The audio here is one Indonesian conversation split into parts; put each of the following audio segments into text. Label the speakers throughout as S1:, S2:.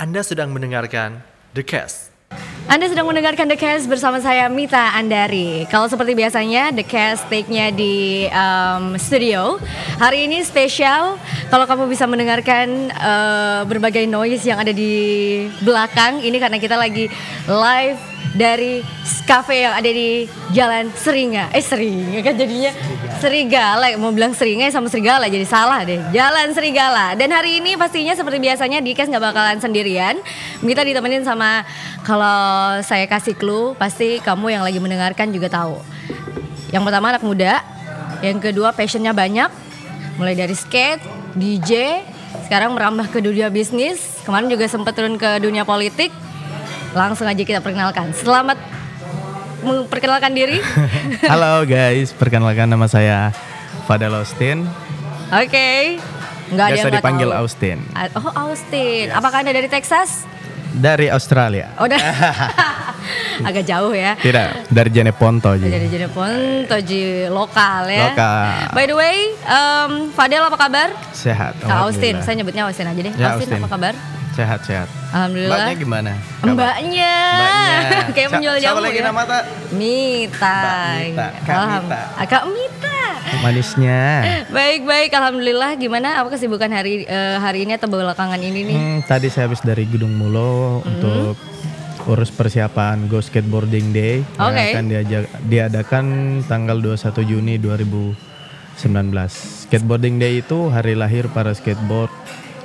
S1: Anda sedang mendengarkan The Cast.
S2: Anda sedang mendengarkan The Cast bersama saya Mita Andari. Kalau seperti biasanya The Cast take-nya di um, studio. Hari ini spesial. Kalau kamu bisa mendengarkan uh, berbagai noise yang ada di belakang ini karena kita lagi live dari cafe yang ada di Jalan Seringa. Eh Seringa kan jadinya Serigala. Mau bilang Seringa sama Serigala jadi salah deh. Jalan Serigala. Dan hari ini pastinya seperti biasanya di Cast nggak bakalan sendirian. Mita ditemenin sama kalau saya kasih clue, pasti kamu yang lagi mendengarkan juga tahu. Yang pertama anak muda, yang kedua passionnya banyak, mulai dari skate, DJ, sekarang merambah ke dunia bisnis, kemarin juga sempat turun ke dunia politik. Langsung aja kita perkenalkan. Selamat memperkenalkan diri.
S3: Halo guys, perkenalkan nama saya Fadel Austin.
S2: Oke. Nggak ada yang
S3: Biasa
S2: nggak
S3: dipanggil
S2: tahu.
S3: Austin.
S2: A- Oh Austin, apakah anda dari Texas?
S3: Dari Australia.
S2: Oh, dah. agak jauh ya.
S3: Tidak, dari Jeneponto aja.
S2: Jadi jadi pun toji lokal ya.
S3: Lokal.
S2: By the way, em, Fadel apa kabar?
S3: Sehat.
S2: Kak Ah, Austin,
S3: alhamdulillah.
S2: saya nyebutnya Austin aja deh.
S3: Ya,
S2: Austin,
S3: Austin.
S2: apa kabar?
S3: Sehat, sehat.
S2: Alhamdulillah.
S3: Mbaknya gimana? Kabar?
S2: Mbaknya.
S3: Mbaknya.
S2: Kayak
S3: Sa-
S2: menjual
S3: siapa
S2: jamu
S3: lagi
S2: ya.
S3: nama tak?
S2: Mita.
S3: Mbak Mita, Kak
S2: Alham-
S3: Mita.
S2: Ah, Kak Mita.
S3: Manisnya.
S2: Baik baik, alhamdulillah. Gimana? Apa kesibukan hari eh, hari ini atau belakangan ini nih?
S3: Hmm, tadi saya habis dari Gedung Mulo
S2: Hmm.
S3: untuk urus persiapan Go Skateboarding Day yang
S2: Oke.
S3: akan diajak- diadakan tanggal 21 Juni 2019. Skateboarding Day itu hari lahir para skateboard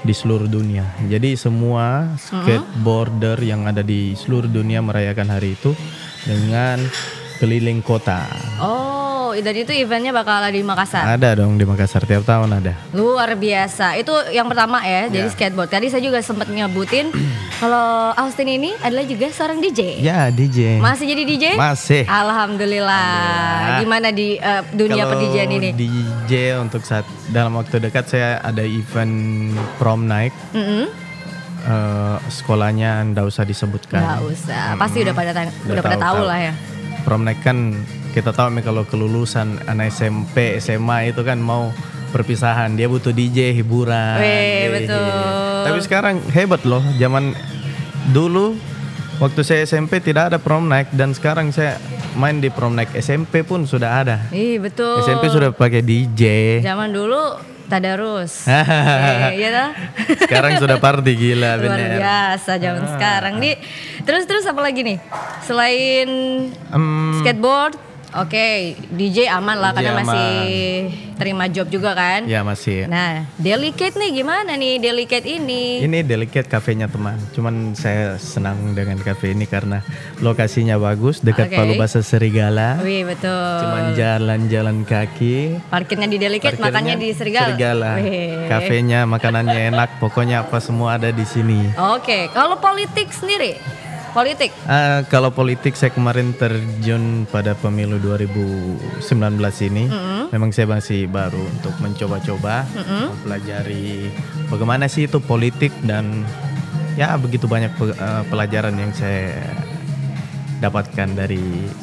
S3: di seluruh dunia. Jadi
S2: Hmm.
S3: semua skateboarder yang ada di seluruh dunia merayakan hari itu dengan keliling kota.
S2: Oh, dan itu eventnya bakal ada di Makassar.
S3: Ada dong di Makassar tiap tahun ada.
S2: Luar biasa. Itu yang pertama ya, jadi skateboard. Tadi saya juga sempat nyebutin kalau Austin ini adalah juga seorang DJ.
S3: Ya DJ.
S2: Masih jadi DJ?
S3: Masih.
S2: Alhamdulillah. Gimana di eh, dunia
S3: Kalau
S2: per-DJan ini?
S3: DJ untuk saat dalam waktu dekat saya ada event prom night.
S2: Mm-mm.
S3: Eh, sekolahnya ndak usah
S2: Nggak
S3: disebutkan.
S2: usah. Pasti udah pada ta- Nah. udah, pada tahu, lah ya.
S3: Prom night kan kita tahu nih kalau kelulusan anak SMP, SMA itu kan mau perpisahan, dia butuh DJ hiburan.
S2: Weh,
S3: Hehehe.
S2: betul.
S3: Tapi sekarang hebat loh, zaman dulu waktu saya SMP tidak ada prom night dan sekarang saya main di prom night SMP pun sudah ada.
S2: Ih, betul.
S3: SMP sudah pakai DJ.
S2: Zaman dulu tadarus. Eh, Iya toh?
S3: Sekarang sudah party gila
S2: Luar
S3: bener.
S2: biasa zaman sekarang nih. Terus terus apa lagi nih? Selain
S3: Em,
S2: skateboard oke DJ aman lah karena
S3: DJ aman.
S2: masih terima job juga kan
S3: ya masih.
S2: nah delicate nih gimana nih delicate ini
S3: Ini delicate kafenya teman. Cuman saya senang dengan kafe ini karena lokasinya bagus, dekat
S2: Oke. Oh, iya.
S3: Palu Basa Serigala.
S2: wih betul
S3: Cuman jalan-jalan kaki.
S2: parkirnya di delicate makannya di serigala, Wih.
S3: Kafenya, makanannya enak, pokoknya apa semua ada di sini.
S2: oke kalau politik sendiri politik
S3: Eh, kalau politik saya kemarin terjun pada pemilu 2019 ini. Memang saya masih baru untuk mencoba-coba mempelajari bagaimana sih itu politik dan ya begitu banyak pe- eh, pelajaran yang saya dapatkan dari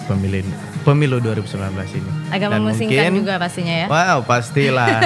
S3: pemilu pemilu 2019 ini.
S2: agak
S3: Dan
S2: memusingkan
S3: mungkin-
S2: juga pastinya ya
S3: Wow, pastilah.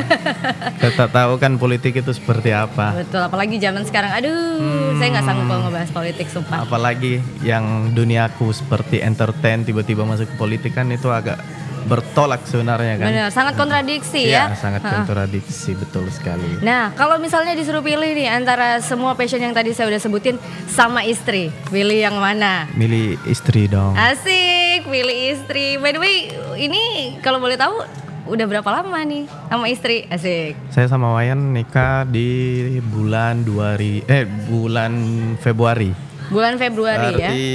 S3: Kita tahu kan politik itu seperti apa.
S2: betul apalagi zaman sekarang aduh saya nggak sanggup kalau ngebahas politik sumpah
S3: apalagi yang duniaku seperti entertain tiba-tiba masuk ke politik kan itu agak bertolak sebenarnya kan
S2: benar sangat kontradiksi ya
S3: Iya, sangat kontradiksi betul sekali
S2: Nah, kalau misalnya disuruh pilih nih antara semua passion yang tadi saya udah sebutin sama istri, pilih yang mana?
S3: milih istri dong
S2: Ah. Asik, pilih istri. By the way, ini kalau boleh tahu udah berapa lama nih sama istri? Asik.
S3: saya sama Wayan nikah di bulan 2 ri- eh bulan Februari
S2: Bulan Februari ya.
S3: berarti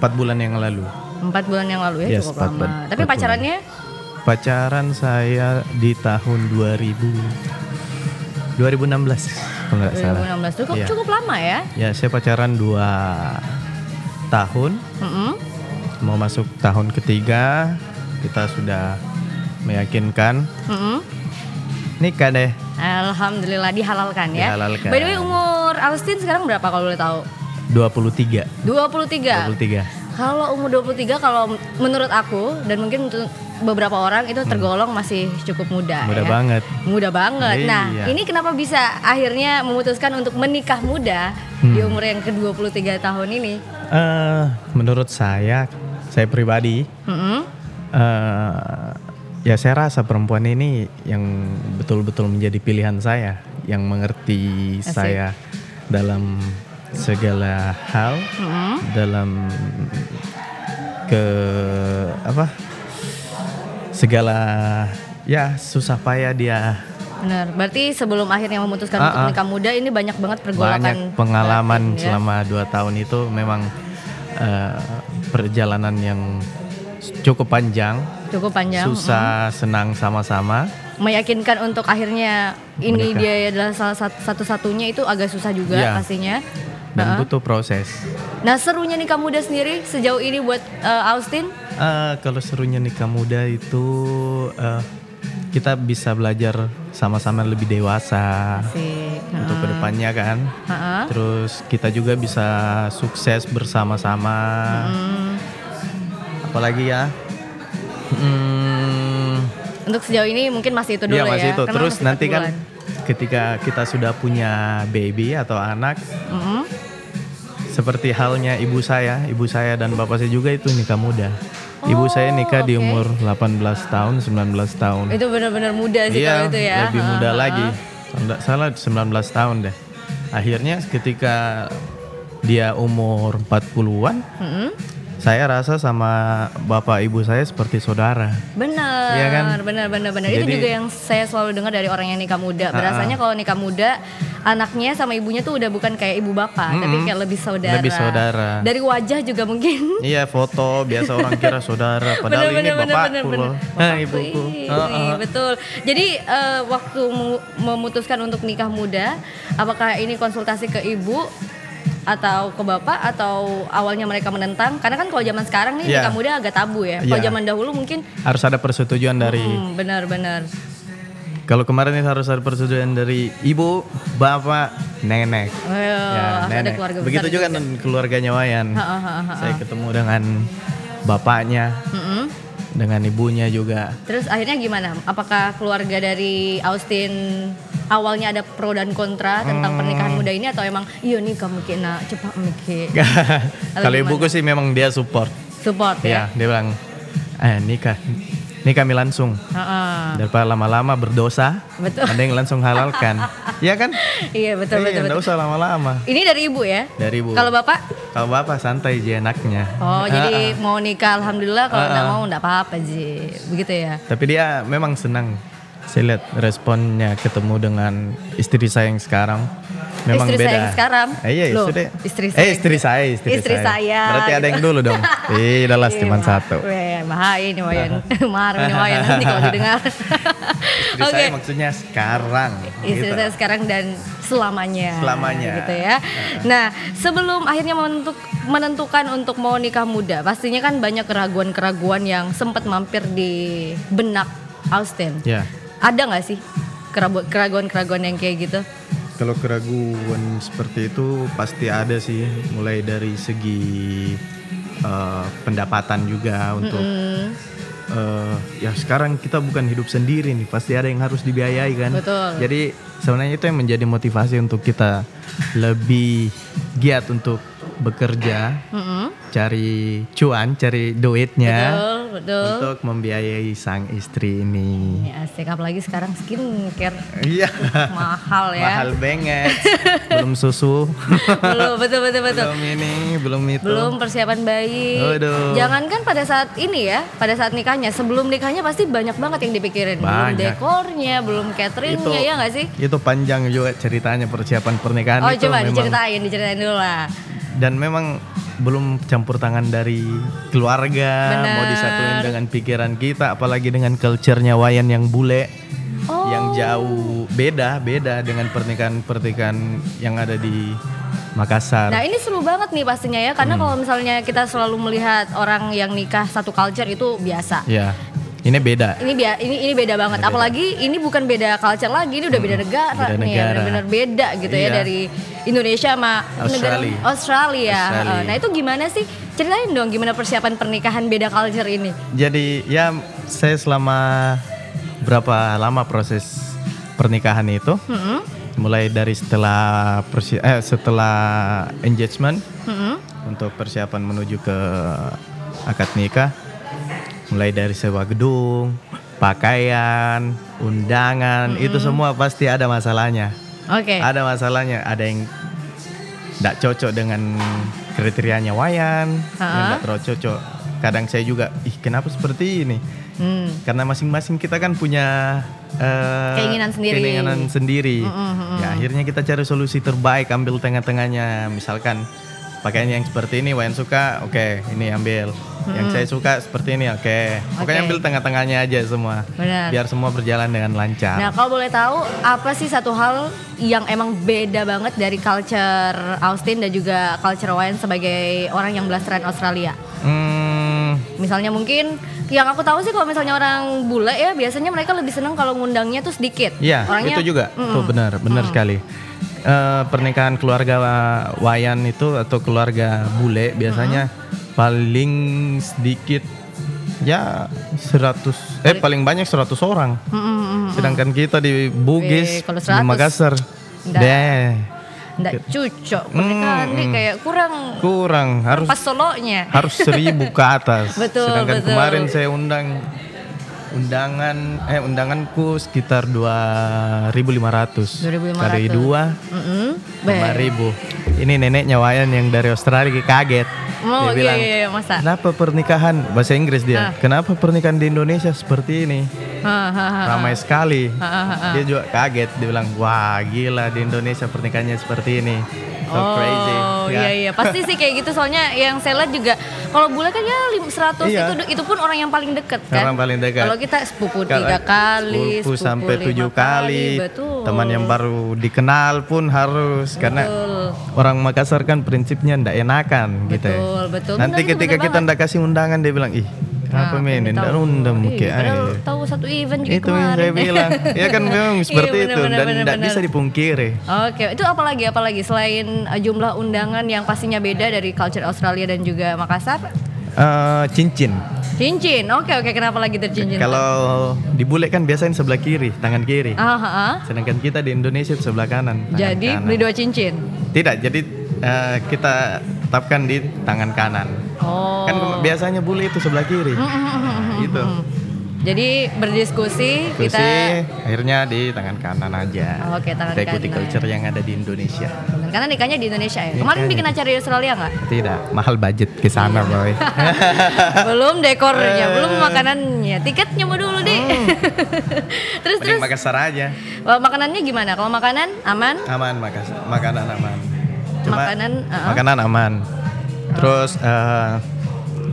S3: empat bulan yang lalu
S2: Empat bulan yang lalu ya
S3: Yes,
S2: cukup
S3: empat
S2: lama.
S3: bulan-
S2: Tapi
S3: empat bulan.
S2: pacarannya
S3: pacaran saya di tahun 2000 2016 kalau nggak salah
S2: 2016 cukup
S3: Iya.
S2: cukup lama ya.
S3: ya saya pacaran 2 tahun
S2: Mm-mm.
S3: mau masuk tahun ketiga kita sudah meyakinkan
S2: Mm-mm.
S3: nikah deh
S2: Alhamdulillah dihalalkan ya.
S3: Dihalalkan.
S2: By the way umur Austin sekarang berapa kalau boleh tahu?
S3: 23
S2: 23. Iya.
S3: 23
S2: Kalau umur 23 kalau menurut aku dan mungkin untuk beberapa orang itu tergolong masih cukup muda.
S3: Muda
S2: ya.
S3: banget.
S2: Muda banget. Nah,
S3: Iya.
S2: ini kenapa bisa akhirnya memutuskan untuk menikah muda di
S3: Hmm.
S2: umur yang ke-23 tahun ini?
S3: Eh, menurut saya, saya pribadi,
S2: Mm-mm.
S3: eh, ya saya rasa perempuan ini yang betul-betul menjadi pilihan saya, yang mengerti
S2: Asik.
S3: saya dalam segala hal,
S2: Mm-mm.
S3: dalam ke apa segala ya susah payah dia
S2: Benar. Berarti sebelum akhirnya memutuskan untuk
S3: Ah, ah.
S2: menikah muda ini banyak banget pergolakan.
S3: banyak pengalaman
S2: batin, ya.
S3: selama dua tahun itu memang eh, perjalanan yang cukup panjang,
S2: cukup panjang.
S3: susah, senang sama-sama.
S2: Meyakinkan untuk akhirnya ini
S3: Menikah.
S2: dia ya adalah salah sat- satu-satunya itu agak susah juga
S3: Iya.
S2: pastinya.
S3: dan
S2: Ah.
S3: butuh proses.
S2: Nah, serunya nikah muda sendiri sejauh ini buat eh, Austin?
S3: Eh, kalau serunya nikah muda itu eh, kita bisa belajar sama-sama lebih dewasa
S2: Sih.
S3: untuk kedepannya kan.
S2: Heeh.
S3: Terus kita juga bisa sukses bersama-sama. Apalagi ya. Hmm,
S2: Untuk sejauh ini mungkin masih itu dulu
S3: iya,
S2: ya.
S3: masih itu.
S2: karena
S3: Terus
S2: masih
S3: nanti kan
S2: 40-an.
S3: ketika kita sudah punya baby atau anak
S2: Mm-mm.
S3: seperti halnya ibu saya, ibu saya dan bapak saya juga itu nikah muda.
S2: Oh,
S3: Ibu saya nikah di
S2: oke.
S3: umur 18 tahun, 19 tahun. Iya,
S2: Itu benar-benar muda sih kalau itu ya.
S3: lebih
S2: Heeh,
S3: muda
S2: heeh.
S3: lagi. Kalau nggak salah 19 tahun deh. Akhirnya ketika dia umur 40-an,
S2: Mm-mm.
S3: saya rasa sama bapak ibu saya seperti saudara.
S2: Benar,
S3: Iya kan?
S2: benar, benar, benar. Itu
S3: Jadi-
S2: juga yang saya selalu dengar dari orang yang nikah muda. Berasanya kalau nikah muda, anaknya sama ibunya tuh udah bukan kayak ibu bapak, tapi kayak lebih saudara.
S3: Lebih saudara.
S2: Dari wajah juga mungkin.
S3: Iya foto biasa orang kira saudara padahal ini bapakku loh. Nah,
S2: Bapakku
S3: ibuku.
S2: ini,
S3: Heeh.
S2: betul. Jadi eh, waktu mu- memutuskan untuk nikah muda, apakah ini konsultasi ke ibu atau ke bapak atau awalnya mereka menentang? Karena kan kalau zaman sekarang nih
S3: Iya.
S2: nikah muda agak tabu ya. Kalau
S3: Iya.
S2: zaman dahulu mungkin
S3: Harus ada persetujuan dari
S2: hmm, benar-benar.
S3: Kalau kemarin itu harus ada persetujuan dari ibu, bapak, nenek. Ya,
S2: Eh, harus ada keluarga besar
S3: Begitu juga dengan keluarganya Wayan.
S2: Ha, ha, ha, ha.
S3: Saya ketemu dengan bapaknya,
S2: Mm-mm.
S3: dengan ibunya juga.
S2: Terus akhirnya gimana? Apakah keluarga dari Austin awalnya ada pro dan kontra tentang
S3: Hmm.
S2: pernikahan muda ini atau emang iya nih kamu kena cepat mikir
S3: Kalau ibuku sih memang dia support.
S2: support ya?
S3: Ya, dia bilang, eh nikah, ini kami langsung.
S2: Heeh.
S3: Daripada lama-lama berdosa,
S2: Ah. Betul.
S3: mending langsung halalkan. Iya kan?
S2: Iya betul betul.
S3: Iya, nggak
S2: betul.
S3: usah lama-lama.
S2: Ini dari ibu ya?
S3: Dari ibu.
S2: Kalau bapak?
S3: Kalau bapak santai aja enaknya.
S2: Oh
S3: Ah, ah.
S2: jadi mau nikah alhamdulillah kalau
S3: Ah,
S2: nggak
S3: ah.
S2: mau nggak apa-apa Ji. Begitu ya?
S3: Tapi dia memang senang. Saya lihat responnya ketemu dengan istri saya yang sekarang. Memang
S2: Istri
S3: beda.
S2: saya yang sekarang?
S3: Eh, iya,
S2: Loh,
S3: istri.
S2: istri
S3: Eh,
S2: saya.
S3: istri saya, istri,
S2: Istri saya, Iya.
S3: Berarti ada
S2: gitu.
S3: yang dulu dong. Ih, udah lah, cuma
S2: Wah,
S3: satu.
S2: Weh, bahaya nih Wayan. Marah nih Wayan nanti kalau didengar.
S3: Istri saya maksudnya sekarang.
S2: istri
S3: gitu.
S2: saya sekarang dan selamanya.
S3: Selamanya.
S2: Gitu ya. Nah, sebelum akhirnya menentuk, menentukan untuk mau nikah muda, pastinya kan banyak keraguan-keraguan yang sempat mampir di benak Austin.
S3: Ya.
S2: Ada nggak sih kerabu- keraguan-keraguan yang kayak gitu?
S3: Kalau keraguan seperti itu pasti ada sih, mulai dari segi eh, pendapatan juga untuk
S2: Hmm,
S3: eh, ya sekarang kita bukan hidup sendiri nih, pasti ada yang harus dibiayai kan.
S2: Betul.
S3: Jadi sebenarnya itu yang menjadi motivasi untuk kita lebih giat untuk bekerja,
S2: mm-mm.
S3: cari cuan, cari duitnya
S2: Betul, betul.
S3: untuk membiayai sang istri ini.
S2: Ya, asik apalagi sekarang skincare
S3: Iya.
S2: mahal ya.
S3: Mahal banget. belum susu.
S2: Belum, betul betul betul.
S3: belum ini, belum itu.
S2: belum persiapan bayi.
S3: Aduh.
S2: Jangankan pada saat ini ya, pada saat nikahnya, sebelum nikahnya pasti banyak banget yang dipikirin. Belum
S3: Banyak.
S2: dekornya, belum cateringnya,
S3: Itu-
S2: ya nggak sih?
S3: Itu panjang juga ceritanya persiapan pernikahan
S2: oh
S3: itu
S2: coba
S3: memang.
S2: diceritain, diceritain dulu lah.
S3: dan memang belum campur tangan dari keluarga mau disatuin dengan pikiran kita apalagi dengan culture-nya Wayan yang bule
S2: Oh.
S3: yang jauh beda beda dengan pernikahan-pernikahan yang ada di Makassar
S2: Nah ini seru banget nih pastinya
S3: Hmm.
S2: ya, karena kalau misalnya kita selalu melihat orang yang nikah satu culture itu biasa.
S3: ya ini Ini beda.
S2: Ini bia- ini ini beda banget. Apalagi ini bukan beda culture lagi, ini udah beda negara
S3: Hmm. beda
S2: nih,
S3: negara.
S2: benar-benar beda gitu ya
S3: Iya.
S2: dari Indonesia sama
S3: Australia.
S2: negara Australia.
S3: Australia.
S2: Eh, Nah, itu gimana sih? Ceritain dong gimana persiapan pernikahan beda culture ini.
S3: Jadi ya saya selama berapa lama proses pernikahan itu? Mulai dari setelah persi- eh, setelah engagement untuk persiapan menuju ke akad nikah. Mulai dari sewa gedung, pakaian, undangan, itu semua pasti ada masalahnya.
S2: Oke.
S3: Ada masalahnya, ada yang tidak cocok dengan kriterianya wayan, yang
S2: Ha-ha.
S3: tidak terlalu cocok. Kadang saya juga, ih kenapa seperti ini?
S2: Hmm.
S3: Karena masing-masing kita kan punya eh,
S2: Keinginan sendiri.
S3: keinginan sendiri. Ya akhirnya kita cari solusi terbaik, ambil tengah-tengahnya. Misalkan pakaian yang seperti ini, wayan suka, oke ini ambil. Yang saya suka seperti ini, oke. Pokoknya
S2: Oke.
S3: ambil tengah-tengahnya aja semua.
S2: Benar.
S3: Biar semua berjalan dengan lancar.
S2: Nah, kalau boleh tahu apa sih satu hal yang emang beda banget dari culture Austin dan juga culture Wayne sebagai orang yang blasteran Australia?
S3: Hmm,
S2: Misalnya mungkin yang aku tahu sih kalau misalnya orang bule ya biasanya mereka lebih seneng kalau ngundangnya tuh sedikit.
S3: Iya,
S2: Orangnya
S3: itu juga. Tuh benar, benar sekali. Eh, pernikahan keluarga wa- Wayan itu atau keluarga bule biasanya paling sedikit ya 100 eh paling banyak 100 orang. Sedangkan kita
S2: Eh,
S3: di Bugis,
S2: kalau
S3: di
S2: 100,
S3: Makassar,
S2: ndak.
S3: deh
S2: nggak cucok pernikahan nih kayak kurang
S3: kurang harus
S2: pas solonya.
S3: harus seribu ke atas.
S2: Betul,
S3: Sedangkan
S2: betul.
S3: kemarin saya undang undangan eh undanganku sekitar 2500.
S2: 2.500.
S3: Kali dua
S2: Mm-mm. Be-
S3: 5000. Ini neneknya Wayan yang dari Australia kaget.
S2: Mau iya,
S3: Dia bilang,
S2: iya, iya, masa?
S3: "Kenapa pernikahan bahasa Inggris
S2: Ah.
S3: dia? Kenapa pernikahan di Indonesia seperti ini?
S2: Ha, ha, ha.
S3: Ramai sekali."
S2: Ah,
S3: Dia juga kaget, dia bilang, "Wah, gila di Indonesia pernikahannya seperti ini." So
S2: oh
S3: crazy. Ya.
S2: iya iya pasti sih kayak gitu soalnya yang saya lihat juga kalau bule kan ya lim- 100
S3: Iya.
S2: itu itu pun orang yang paling dekat kan.
S3: Orang paling dekat.
S2: Kalau kita sepupu
S3: Kalau
S2: tiga kali,
S3: sepupu sampai
S2: lima
S3: tujuh kali,
S2: betul.
S3: teman yang baru dikenal pun harus karena orang Makassar kan prinsipnya ndak enakan gitu ya.
S2: Betul, betul. Ah, Benar
S3: nanti
S2: itu,
S3: ketika
S2: benar
S3: kita ndak kasih undangan dia bilang ih kenapa men ndak undang kayak
S2: Padahal
S3: "Ay."
S2: tahu satu event juga
S3: itu yang
S2: kemarin.
S3: saya bilang ya kan memang
S2: Iya,
S3: seperti
S2: benar,
S3: itu
S2: benar,
S3: dan
S2: benar,
S3: ndak
S2: benar.
S3: bisa dipungkiri
S2: Oke, itu apalagi apalagi selain eh, jumlah undangan yang pastinya beda dari culture Australia dan juga Makassar.
S3: Eh, cincin
S2: Cincin. Oke, oke, kenapa lagi tercincin?
S3: kalau di bule kan biasanya sebelah kiri tangan kiri
S2: Ah, ah, ah.
S3: sedangkan kita di Indonesia itu sebelah kanan tangan
S2: Jadi
S3: kanan.
S2: beli dua cincin.
S3: Tidak, jadi eh, kita tetapkan di tangan kanan.
S2: Oh. Hmm.
S3: Kan ke- biasanya bule itu sebelah kiri. Nah, gitu.
S2: Jadi berdiskusi
S3: Kursi
S2: kita
S3: akhirnya di tangan kanan aja.
S2: Oke, tangan
S3: Kita ikuti
S2: kanan.
S3: culture yang ada di Indonesia.
S2: karena nikahnya di Indonesia ya. Kemarin
S3: Nikahnya.
S2: bikin acara di Australia nggak?
S3: Tidak, mahal budget ke sana, Boy.
S2: belum dekornya,
S3: Eh.
S2: belum makanannya. Tiketnya mau dulu deh. terus
S3: Hmm.
S2: terus
S3: Mending Makassar aja.
S2: Wah, makanannya gimana? Kalau makanan aman?
S3: Aman Makassar, makanan aman.
S2: Makanan, uh-uh.
S3: makanan aman. Terus eh,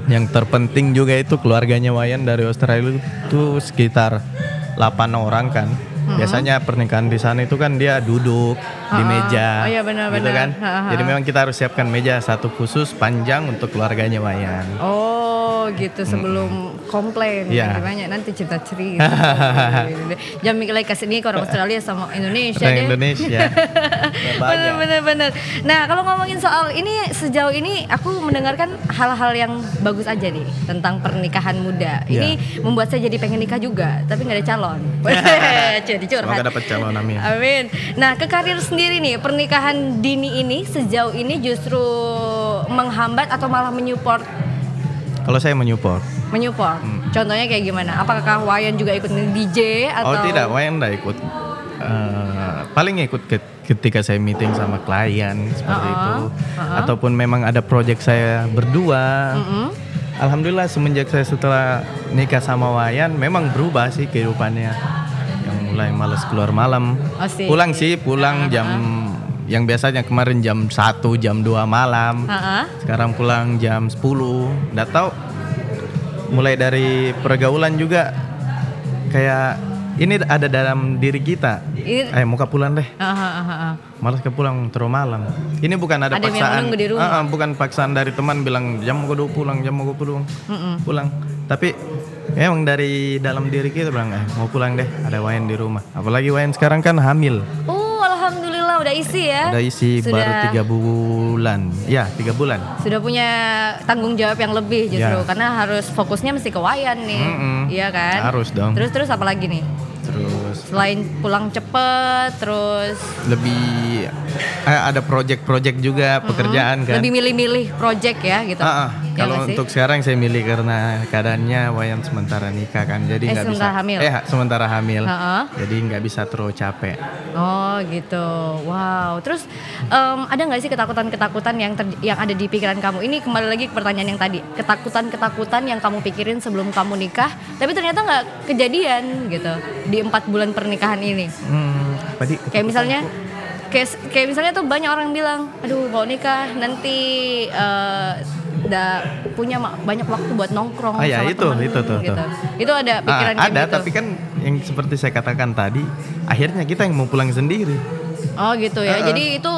S3: yang terpenting juga itu keluarganya Wayan dari Australia itu sekitar 8 orang kan. Biasanya pernikahan di sana itu kan dia duduk di
S2: Oh
S3: meja,
S2: iya, benar,
S3: gitu
S2: benar.
S3: kan.
S2: Ha-ha.
S3: Jadi memang kita harus siapkan meja satu khusus panjang untuk keluarganya Wayan.
S2: Oh gitu sebelum komplain
S3: Hmm. Iya.
S2: banyak nanti cerita cerita. Jangan mikir lagi kesini ke orang Australia sama Indonesia
S3: Orang
S2: deh.
S3: Indonesia.
S2: bener bener bener. Nah kalau ngomongin soal ini sejauh ini aku mendengarkan hal-hal yang bagus aja nih tentang pernikahan muda.
S3: Iya.
S2: Ini membuat saya jadi pengen nikah juga tapi nggak ada calon. jadi curhat.
S3: Semoga dapat calon amin.
S2: Amin. Nah, ke karir sendiri nih, pernikahan dini ini sejauh ini justru menghambat atau malah menyupport
S3: Kalau saya menyupport.
S2: menyupport. Contohnya kayak gimana? Apakah Wayan juga ikut DJ atau
S3: Hmm. Oh tidak, Wayan nggak ikut. Eh, paling ikut ke- ketika saya meeting sama klien seperti itu,
S2: Uh-huh,
S3: ataupun memang ada project saya berdua. Alhamdulillah semenjak saya setelah nikah sama Wayan, memang berubah sih kehidupannya. Yang mulai males keluar malam,
S2: Oh, sih. Uh-huh.
S3: pulang sih pulang jam yang biasanya kemarin jam 1, jam 2 malam.
S2: Heeh.
S3: Sekarang pulang jam 10. Nggak tahu mulai dari pergaulan juga kayak ini ada dalam diri kita.
S2: Ini-
S3: Eh muka pulang deh.
S2: Aha, aha, aha.
S3: Malas ke pulang terlalu malam. Ini bukan ada,
S2: Ada yang
S3: paksaan.
S2: menunggu di rumah.
S3: Ah, ah, bukan paksaan dari teman bilang jam mau gue pulang, jam mau gue pulang. Pulang. Tapi Emang dari dalam diri kita bilang "Ah, mau pulang deh, ada Wayan di rumah. Apalagi Wayan sekarang kan hamil,
S2: Oh, alhamdulillah udah isi ya.
S3: udah isi
S2: Sudah.
S3: baru tiga bulan. Ya tiga bulan.
S2: Sudah punya tanggung jawab yang lebih justru
S3: Ya.
S2: karena harus fokusnya mesti ke wayan nih.
S3: Mm-mm.
S2: Iya kan?
S3: Harus dong.
S2: Terus terus apa lagi nih?
S3: Terus
S2: Selain pulang cepet, terus
S3: lebih eh, ada project-project juga pekerjaan kan.
S2: lebih milih-milih project ya gitu.
S3: Ah, ah.
S2: Iya
S3: kalau
S2: nggak sih?
S3: untuk sekarang saya milih karena keadaannya Wayan sementara nikah kan, jadi
S2: Eh,
S3: nggak bisa.
S2: sementara hamil.
S3: Eh, ha- sementara hamil.
S2: Ha-ha.
S3: Jadi nggak bisa terlalu capek.
S2: Oh gitu, wow. Terus em, ada nggak sih ketakutan-ketakutan yang ter- yang ada di pikiran kamu? Ini kembali lagi ke pertanyaan yang tadi, ketakutan-ketakutan yang kamu pikirin sebelum kamu nikah, tapi ternyata nggak kejadian gitu di empat bulan pernikahan ini.
S3: Hmm, apa di?
S2: Kayak misalnya, kayak, kayak misalnya tuh banyak orang bilang, aduh mau nikah nanti eh, udah punya ma- banyak waktu buat nongkrong
S3: Ah, ya,
S2: sama
S3: itu,
S2: temen,"
S3: itu, itu,
S2: gitu.
S3: itu.
S2: Itu ada pikiran
S3: Ah,
S2: kayak
S3: ada,
S2: gitu?
S3: tapi kan yang seperti saya katakan tadi, akhirnya kita yang mau pulang sendiri.
S2: Oh gitu ya. Jadi itu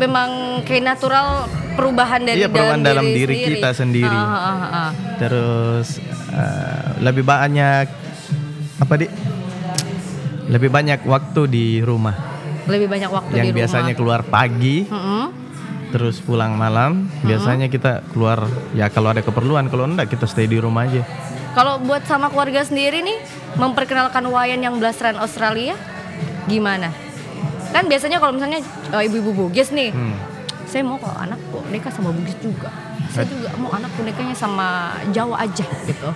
S2: memang kayak natural perubahan dari
S3: Iya, perubahan dalam diri kita sendiri.
S2: Ah, ah, ah, ah.
S3: Terus eh, lebih banyak apa di? Lebih banyak waktu di rumah.
S2: Lebih banyak waktu
S3: yang
S2: di rumah.
S3: biasanya keluar pagi,
S2: Mm-mm.
S3: terus pulang malam. Biasanya kita keluar ya kalau ada keperluan, kalau enggak kita stay di rumah aja.
S2: Kalau buat sama keluarga sendiri nih memperkenalkan wayan yang blasteran Australia gimana? Kan biasanya kalau misalnya eh, ibu-ibu Bugis nih,
S3: Hmm.
S2: saya mau kalau anakku nikah sama Bugis juga. Saya
S3: Eh.
S2: juga mau anakku nikahnya sama Jawa aja gitu.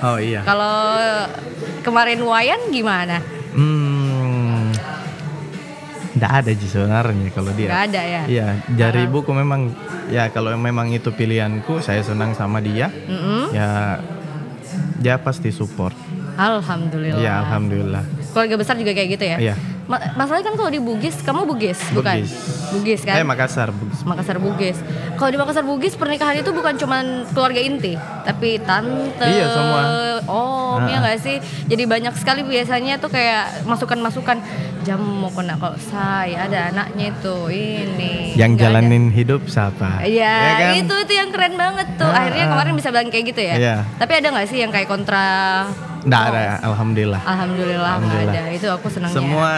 S3: Oh iya.
S2: Kalau kemarin wayan gimana?
S3: Hmm, nggak ada sih sebenarnya kalau
S2: Gak
S3: dia.
S2: ada ya?
S3: Iya, dari ibuku memang ya kalau memang itu pilihanku, saya senang sama dia.
S2: Mm-mm.
S3: Ya, dia pasti support.
S2: Alhamdulillah.
S3: Iya, alhamdulillah.
S2: Keluarga besar juga kayak gitu ya?
S3: Iya.
S2: Ma- masalahnya kan kalau di Bugis, kamu Bugis, bukan?
S3: Bugis.
S2: Bugis kan?
S3: Eh Makassar, Bugis.
S2: Makassar Bugis. Kalau di Makassar Bugis pernikahan itu bukan cuman keluarga inti, tapi tante,
S3: Iya, semua.
S2: om, ya nggak sih? Jadi banyak sekali biasanya tuh kayak masukan-masukan jam mau kena kok saya ada anaknya itu ini.
S3: yang
S2: nggak ada.
S3: jalanin hidup siapa?
S2: Iya,
S3: Ya kan?
S2: itu itu yang keren banget tuh.
S3: Ah,
S2: Akhirnya
S3: ah.
S2: kemarin bisa bilang kayak gitu ya.
S3: Iya.
S2: Tapi ada nggak sih yang kayak kontra?
S3: Nggak ada, alhamdulillah.
S2: Alhamdulillah nggak ada.
S3: Alhamdulillah.
S2: Itu aku senangnya.
S3: Semua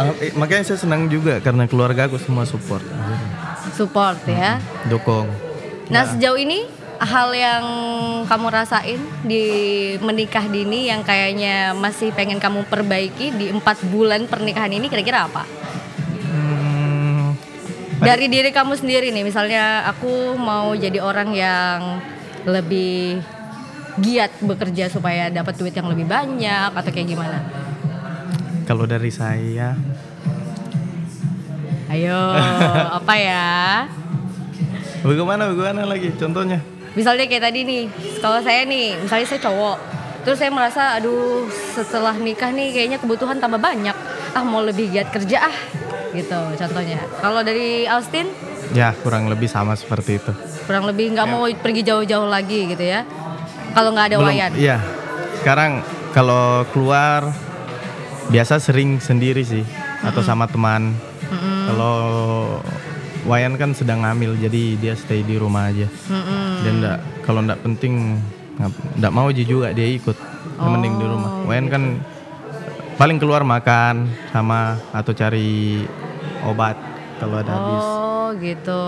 S3: al- eh, makanya saya senang juga karena keluarga aku semua support.
S2: support ya.
S3: Dukung.
S2: Nah sejauh ini hal yang kamu rasain di menikah dini yang kayaknya masih pengen kamu perbaiki di empat bulan pernikahan ini kira-kira apa?
S3: Hmm,
S2: Dari diri kamu sendiri nih, misalnya aku mau jadi orang yang lebih giat bekerja supaya dapat duit yang lebih banyak atau kayak gimana?
S3: kalau dari saya
S2: Ayo, apa ya?
S3: Bagaimana bagaimana lagi contohnya?
S2: Misalnya kayak tadi nih, kalau saya nih, misalnya saya cowok, terus saya merasa, aduh, setelah nikah nih kayaknya kebutuhan tambah banyak. Ah, mau lebih giat kerja ah, gitu contohnya. Kalau dari Austin,
S3: Ya kurang lebih sama seperti itu.
S2: kurang lebih
S3: Ya.
S2: nggak mau pergi jauh-jauh lagi gitu ya. Kalau nggak ada wayan.
S3: Iya. Sekarang kalau keluar biasa sering sendiri sih atau sama teman. Kalau Wayan kan sedang hamil jadi dia stay di rumah aja. Dan ndak kalau ndak penting ngap- ndak mau aja juga dia ikut. Yang mending di rumah. Wayan kan paling keluar makan sama atau cari obat kalau ada habis.
S2: Oh gitu.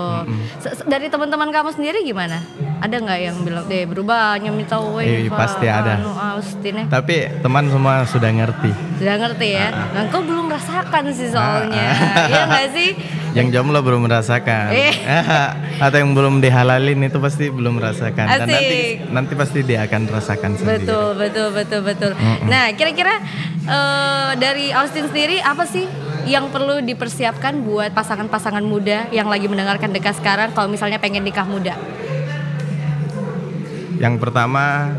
S2: Se- se- Dari teman-teman kamu sendiri gimana? Ada nggak yang bilang deh berubah nyemita
S3: Eh, pasti ada.
S2: Austin ya.
S3: Tapi teman semua sudah ngerti.
S2: Sudah ngerti ya.
S3: Ah,
S2: Nah, kau belum merasakan sih soalnya. Iya nggak sih?
S3: Yang jomblo belum merasakan.
S2: Eh.
S3: Atau yang belum dihalalin itu pasti belum merasakan. Dan nanti
S2: Asik.
S3: nanti pasti dia akan rasakan sendiri.
S2: Betul, betul, betul, betul. Nah, kira-kira eh, dari Austin sendiri apa sih yang perlu dipersiapkan buat pasangan-pasangan muda yang lagi mendengarkan dekat sekarang kalau misalnya pengen nikah muda?
S3: Yang pertama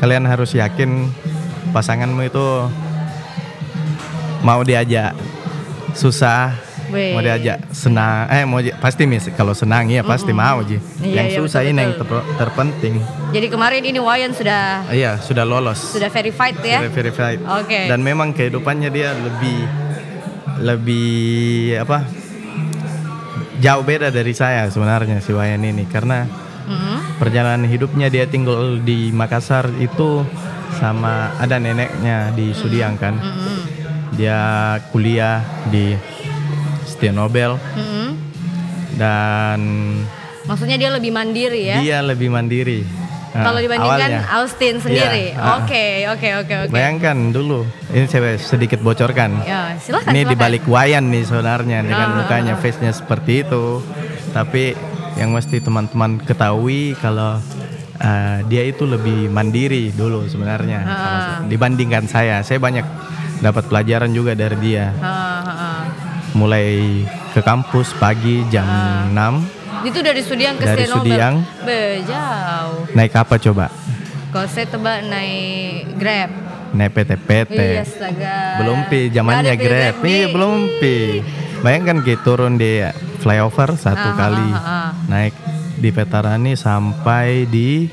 S3: kalian harus yakin pasanganmu itu mau diajak susah,
S2: Weh.
S3: mau diajak senang. Eh mau di- pasti mis kalau senang ya pasti mau ji.
S2: Iya,
S3: yang
S2: iya,
S3: susah ini yang
S2: betul-betul.
S3: ter- terpenting.
S2: Jadi kemarin ini Wayan sudah
S3: Iya sudah lolos.
S2: sudah verified ya.
S3: Sudah verified.
S2: Oke.
S3: Dan memang kehidupannya dia lebih lebih apa? Jauh beda dari saya sebenarnya si Wayan ini karena
S2: Mm.
S3: perjalanan hidupnya dia tinggal di Makassar itu sama ada neneknya di Sudiang kan. Dia kuliah di Setia Nobel
S2: Mm-mm.
S3: dan
S2: mm-hmm. Maksudnya dia lebih mandiri ya.
S3: dia lebih mandiri. Nah,
S2: Kalau dibandingkan
S3: awalnya.
S2: Austin sendiri.
S3: Iya, ah.
S2: Oke, oke, oke, oke.
S3: Bayangkan dulu, ini saya sedikit bocorkan.
S2: Ya, silakan.
S3: Ini
S2: silakan.
S3: dibalik wayan nih sebenarnya
S2: Ah, ah,
S3: dengan mukanya, face-nya seperti itu. Tapi yang mesti teman-teman ketahui kalau eh, dia itu lebih mandiri dulu sebenarnya
S2: Ah.
S3: sama saya. dibandingkan saya. Saya banyak dapat pelajaran juga dari dia.
S2: Ah, ah, ah.
S3: Mulai ke kampus pagi jam
S2: Ah.
S3: 6
S2: Itu dari Sudiang ke
S3: Dari
S2: Steno
S3: Sudiang.
S2: Bejauh.
S3: naik apa coba?
S2: Kalau saya tebak naik Grab.
S3: Naik PT-PT.
S2: Iya, astaga.
S3: Belum pi, zamannya
S2: Nggak ada
S3: Grab.
S2: Pi.
S3: Iya, belum pi. Bayangkan gitu turun di flyover satu
S2: Ah,
S3: kali.
S2: ah, ah.
S3: Naik di Petarani sampai di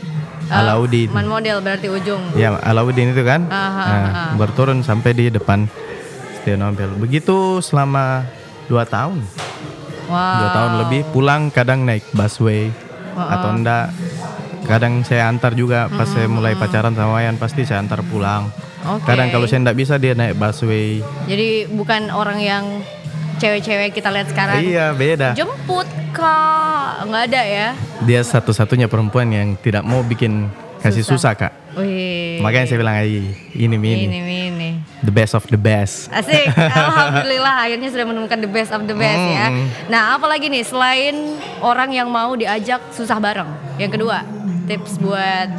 S3: Alauddin.
S2: Man model berarti ujung.
S3: Ya, Alauddin itu kan.
S2: Ah, ah,
S3: Nah, berturun sampai di depan Setia Nobel. Begitu selama dua tahun.
S2: Wow.
S3: Dua tahun lebih pulang kadang naik busway
S2: Ah,
S3: atau enggak kadang saya antar juga pas saya mulai pacaran sama Wayan pasti saya antar pulang.
S2: Hmm, Oke.
S3: Kadang kalau saya enggak bisa dia naik busway.
S2: Jadi bukan orang yang cewek-cewek kita lihat sekarang.
S3: Iya beda.
S2: Jemput kak, nggak ada ya?
S3: Dia satu-satunya perempuan yang tidak mau bikin kasih susah, kak.
S2: Wih.
S3: Makanya saya bilang "Ay, ini mi, ini
S2: ini ini.
S3: the best of the best.
S2: Asik, alhamdulillah akhirnya sudah menemukan the best of the best ya.
S3: Hmm,
S2: Nah, apalagi nih selain orang yang mau diajak susah bareng. Yang kedua, tips buat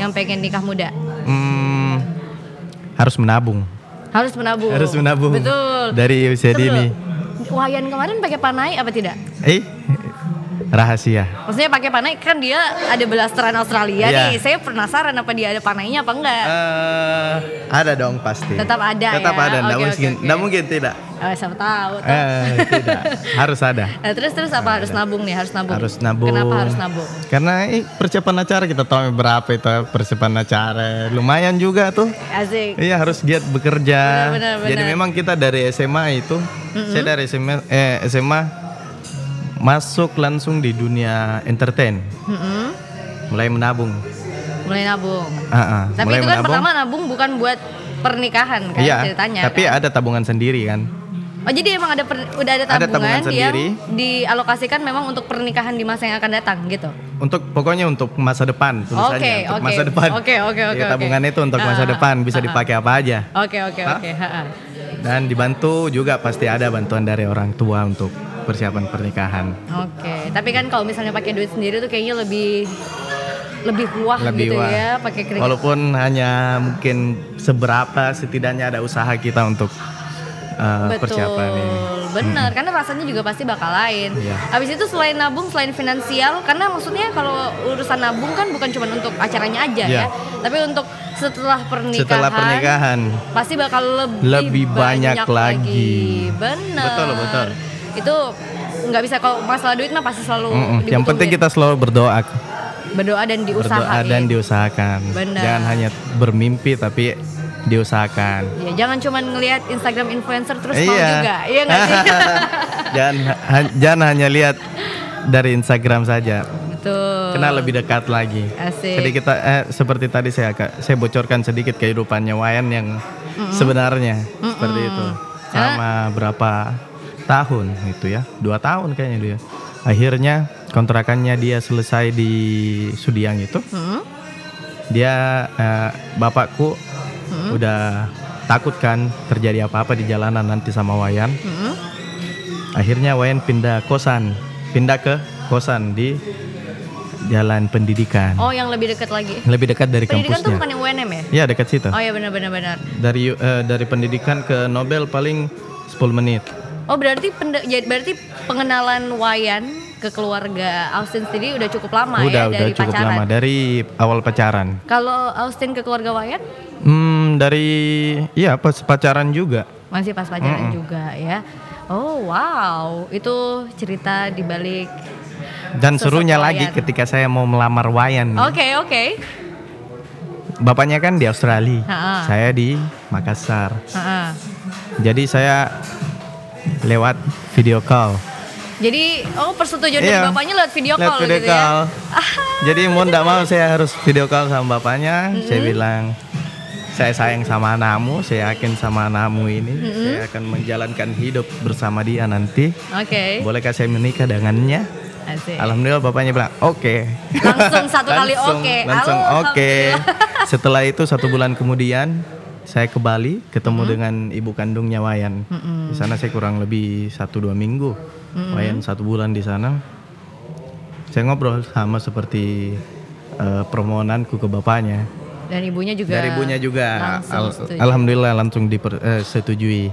S2: yang pengen nikah muda.
S3: Hmm, harus menabung.
S2: Harus menabung.
S3: Harus menabung.
S2: Betul.
S3: Dari usia
S2: Tunggu
S3: dini.
S2: dulu. Wayan kemarin pakai panai apa tidak?
S3: Eh, rahasia.
S2: Maksudnya pakai panai kan dia ada belasteran Australia
S3: Iya.
S2: nih. Saya penasaran apa dia ada panainya apa enggak.
S3: Eh, ada dong pasti.
S2: Tetap ada
S3: Tetap
S2: ya?
S3: ada. Nggak
S2: Oke, oke,
S3: mungkin,
S2: oke.
S3: nggak mungkin tidak.
S2: Eh, siapa tahu. toh.
S3: Eh, tidak. Harus ada.
S2: Nah, terus terus apa harus nabung nih? Harus nabung.
S3: Harus nabung.
S2: Kenapa harus nabung?
S3: Karena eh, persiapan acara kita tahu berapa itu persiapan acara. Lumayan juga tuh.
S2: Asik.
S3: Iya harus giat bekerja.
S2: Benar, benar,
S3: Jadi
S2: benar.
S3: memang kita dari SMA itu, saya dari SMA, eh, SMA masuk langsung di dunia entertain,
S2: Mm-mm.
S3: mulai menabung.
S2: Mulai nabung.
S3: Ah, ah,
S2: Tapi
S3: mulai
S2: itu kan pertama nabung bukan buat pernikahan kan
S3: Iya.
S2: ceritanya.
S3: Tapi
S2: kan?
S3: ada tabungan sendiri kan.
S2: Oh jadi emang ada per- udah ada
S3: Ada
S2: tabungan,
S3: tabungan
S2: yang
S3: sendiri.
S2: dialokasikan memang untuk pernikahan di masa yang akan datang gitu.
S3: Untuk pokoknya untuk masa depan tulisannya,
S2: Oke,
S3: untuk
S2: oke.
S3: masa depan.
S2: Oke, oke,
S3: Iya,
S2: oke, oke.
S3: Tabungan itu untuk
S2: Ah,
S3: masa
S2: ah,
S3: depan bisa dipakai apa aja.
S2: Oke oke oke. ha, ha.
S3: Dan dibantu juga pasti ada bantuan dari orang tua untuk persiapan pernikahan.
S2: Oke. Tapi kan kalau misalnya pakai duit sendiri tuh kayaknya lebih lebih wah
S3: lebih
S2: gitu
S3: wah.
S2: ya pakai kredit.
S3: Walaupun hanya mungkin seberapa setidaknya ada usaha kita untuk uh, persiapan ini. Hmm.
S2: bener karena rasanya juga pasti bakal lain.
S3: Iya.
S2: Habis itu selain nabung, selain finansial, karena maksudnya kalau urusan nabung kan bukan cuma untuk acaranya aja
S3: Iya.
S2: ya, tapi untuk setelah pernikahan.
S3: Setelah pernikahan
S2: pasti bakal lebih,
S3: Lebih banyak lagi.
S2: Bener.
S3: Betul, betul.
S2: Itu nggak bisa kalau masalah duit mah pasti selalu.
S3: Mm-mm.
S2: dibutuhin.
S3: yang penting kita selalu berdoa,
S2: berdoa dan diusahain.
S3: berdoa dan diusahakan.
S2: Benar.
S3: Jangan hanya bermimpi tapi diusahakan.
S2: Ya, jangan cuma ngelihat Instagram influencer terus mau juga, iya nggak sih?
S3: jangan ha- jangan hanya lihat dari Instagram saja.
S2: Betul.
S3: Kenal lebih dekat lagi.
S2: Asik.
S3: Jadi kita eh, seperti tadi saya agak- saya bocorkan sedikit kehidupannya Wayan yang sebenarnya seperti itu selama berapa tahun itu ya dua tahun kayaknya dia. Akhirnya kontrakannya dia selesai di Sudiang itu.
S2: Hmm?
S3: Dia eh, bapakku
S2: Hmm.
S3: udah takut kan terjadi apa-apa di jalanan nanti sama Wayan.
S2: Hmm?
S3: Akhirnya Wayan pindah kosan, pindah ke kosan di Jalan Pendidikan.
S2: Oh, yang lebih dekat lagi.
S3: Lebih dekat dari
S2: Pendidikan tuh
S3: kampusnya.
S2: bukan yang UNM ya?
S3: Ya dekat situ.
S2: Oh ya benar-benar benar.
S3: Dari eh, dari pendidikan ke Nobel paling 10 menit.
S2: Oh berarti pende- ya, berarti pengenalan Wayan ke keluarga Austin sendiri udah cukup lama ya
S3: udah udah
S2: dari
S3: cukup
S2: pacaran.
S3: lama dari awal pacaran.
S2: Kalau Austin ke keluarga Wayan
S3: Hmm dari iya pas pacaran juga.
S2: masih pas pacaran juga ya. Oh wow, itu cerita di balik.
S3: Dan
S2: Sosok
S3: serunya
S2: Wayan. Oh,
S3: lagi ketika saya mau melamar Wayan.
S2: Oke oke.
S3: Bapaknya kan di Australia,
S2: Ha-ha.
S3: saya di Makassar.
S2: Ha-ha.
S3: Jadi saya lewat video call.
S2: Jadi oh persetujuan dari
S3: Iya.
S2: bapaknya lewat video
S3: Lihat
S2: call
S3: video
S2: gitu
S3: call.
S2: ya. Ah,
S3: Jadi mau ndak mau saya harus video call sama bapaknya. Saya bilang, saya sayang sama anakmu, saya yakin sama anakmu ini, saya akan menjalankan hidup bersama dia nanti.
S2: Oke.
S3: Bolehkah saya menikah dengannya?
S2: Asik.
S3: Alhamdulillah bapaknya bilang oke.
S2: Langsung satu kali
S3: Langsung-
S2: oke.
S3: Langsung oke. Setelah itu satu bulan kemudian saya ke Bali ketemu dengan ibu kandungnya Wayan. Di sana saya kurang lebih satu dua minggu. Wayan satu bulan di sana. Saya ngobrol sama seperti eh, permohonanku ke bapaknya.
S2: Dan ibunya juga.
S3: Dari ibunya juga.
S2: langsung
S3: Al-
S2: setuju.
S3: Alhamdulillah langsung disetujui.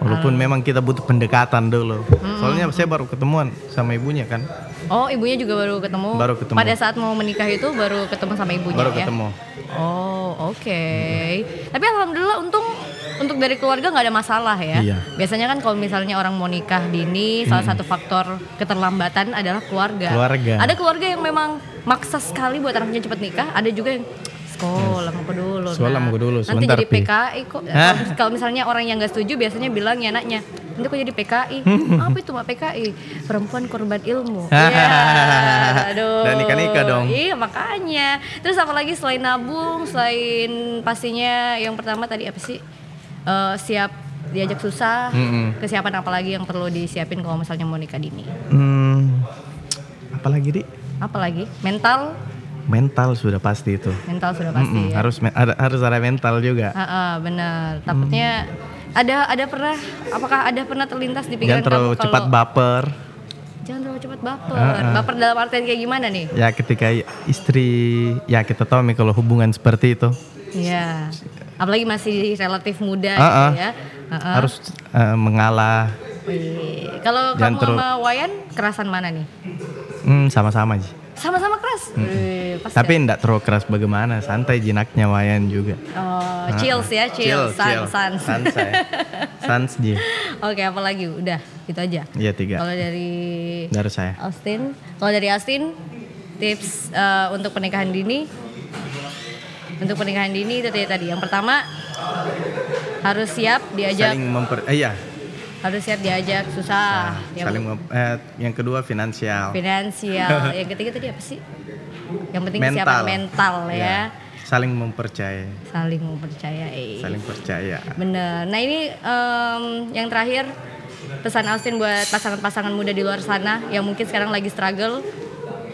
S3: Walaupun
S2: Ah.
S3: memang kita butuh pendekatan dulu. Soalnya saya baru ketemuan sama ibunya kan.
S2: Oh, ibunya juga baru ketemu.
S3: Baru ketemu.
S2: Pada saat mau menikah itu baru ketemu sama ibunya
S3: Baru
S2: ya.
S3: ketemu.
S2: Oh, oke. Tapi alhamdulillah untung untuk dari keluarga nggak ada masalah ya.
S3: Iya.
S2: Biasanya kan kalau misalnya orang mau nikah dini, salah satu faktor keterlambatan adalah keluarga.
S3: Keluarga.
S2: Ada keluarga yang memang maksa sekali buat anaknya cepet nikah, ada juga yang sekolah mau ke dulu.
S3: Sekolah
S2: Nak.
S3: mau ke dulu,
S2: Nanti
S3: sebentar,
S2: jadi
S3: Pi."
S2: PKI kok.
S3: Hah?
S2: Kalau misalnya orang yang nggak setuju biasanya bilang ya anaknya, nanti kok jadi PKI. Apa itu mbak PKI? Perempuan korban ilmu. Iya, aduh.
S3: Dan nikah-nikah dong.
S2: Iya makanya. Terus apalagi selain nabung, selain pastinya yang pertama tadi apa sih Eh, siap diajak susah, kesiapan apalagi yang perlu disiapin kalau misalnya mau nikah dini.
S3: Hmm, apalagi di
S2: Apalagi mental,
S3: mental sudah pasti itu.
S2: mental sudah pasti.
S3: Mm-mm,
S2: ya.
S3: Harus me- ada, harus ada mental juga.
S2: Ah, ah, benar. Takutnya ada ada pernah apakah ada pernah terlintas di pikiran
S3: Jangan terlalu
S2: kan kamu
S3: cepat
S2: kalau
S3: baper.
S2: jangan terlalu cepat baper. Baper dalam artian kayak gimana nih?
S3: Ya ketika i- istri ya kita tahu Mi, kalau hubungan seperti itu
S2: Iya. Apalagi masih relatif muda
S3: Ah,
S2: gitu
S3: ah.
S2: ya. Ah, ah.
S3: harus eh, mengalah
S2: Wih, Kalau
S3: Jangan
S2: kamu
S3: terlalu-
S2: sama Wayan kerasan mana nih?
S3: Hmm, sama-sama sih.
S2: Sama-sama keras. Wih, ya? pasti.
S3: Hmm. Tapi enggak terlalu keras bagaimana, santai jinaknya Wayan juga.
S2: oh, chills ya, chills,
S3: Nah, chill.
S2: sans, sans.
S3: Santai. Sans Ji.
S2: Oke, apalagi udah gitu aja.
S3: Ya tiga
S2: Kalau dari
S3: dari saya.
S2: Austin, kalau dari Austin tips eh, untuk pernikahan dini untuk pernikahan dini itu tadi tadi. Yang pertama harus siap diajak
S3: Saling memper eh, iya, Ah,
S2: harus siap diajak susah. Ah, Yang
S3: Nah, saling mem- eh, yang kedua finansial.
S2: finansial. yang ketiga tadi apa sih? Yang penting
S3: Mental. Iya.
S2: kesiapan mental ya.
S3: Saling mempercayai,
S2: Saling mempercayai.
S3: saling percaya.
S2: Bener. Nah ini em, yang terakhir pesan Austin buat pasangan-pasangan muda di luar sana yang mungkin sekarang lagi struggle.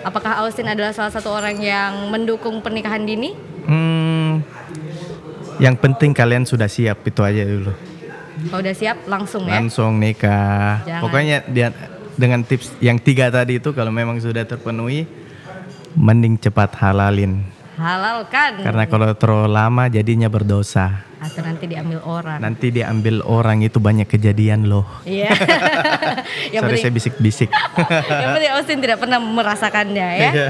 S2: Apakah Austin adalah salah satu orang yang mendukung pernikahan dini?
S3: Hmm, yang penting kalian sudah siap itu aja dulu.
S2: Kalau udah siap langsung ya.
S3: Langsung nikah.
S2: Jangan.
S3: Pokoknya dia- dengan tips yang tiga tadi itu kalau memang sudah terpenuhi, mending cepat halalin.
S2: Halalkan.
S3: Karena kalau terlalu lama jadinya berdosa.
S2: Atau nanti diambil orang.
S3: Nanti diambil orang itu banyak kejadian loh.
S2: Iya. yang
S3: Sorry
S2: penting
S3: saya bisik-bisik.
S2: yang penting Austin tidak pernah merasakannya ya.
S3: Iya.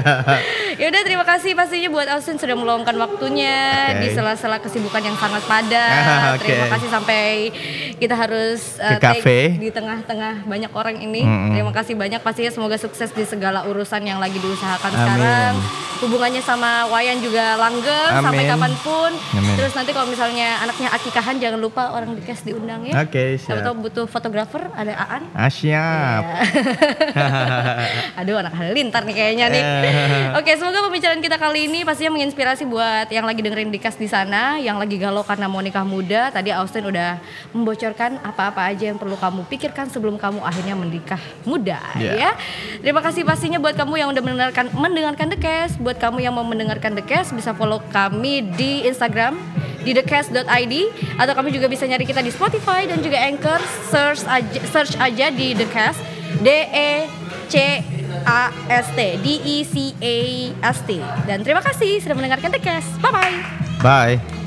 S2: ya udah terima kasih pastinya buat Austin sudah meluangkan waktunya
S3: Oke. Ah,
S2: di sela-sela kesibukan yang sangat padat.
S3: Oke.
S2: Terima kasih sampai kita harus
S3: Ke
S2: eh, take
S3: kafe.
S2: di tengah-tengah banyak orang ini. Terima kasih banyak pastinya semoga sukses di segala urusan yang lagi diusahakan
S3: Amin.
S2: sekarang. Hubungannya sama Wayan juga langgeng sampai
S3: Amin.
S2: kapanpun.
S3: Amin.
S2: Terus nanti kalau misalnya anaknya akikahan jangan lupa orang di cast diundang ya.
S3: Oke,
S2: Siapa
S3: siap.
S2: tahu butuh fotografer ada Aan.
S3: Ah, siap.
S2: Aduh anak halilintar nih kayaknya nih. Oke, semoga pembicaraan kita kali ini pastinya menginspirasi buat yang lagi dengerin dikas di sana, yang lagi galau karena mau nikah muda. Tadi Austin udah membocorkan apa-apa aja yang perlu kamu pikirkan sebelum kamu akhirnya menikah muda
S3: Iya.
S2: ya. Terima kasih pastinya buat kamu yang udah mendengarkan mendengarkan The Cast, buat kamu yang mau mendengarkan The Cast bisa follow kami di Instagram di thecast.id atau kamu juga bisa nyari kita di Spotify dan juga Anchor search aja search aja di The Cast D E C A S T D E C A S T dan terima kasih sudah mendengarkan The Cast. Bye bye.
S3: Bye.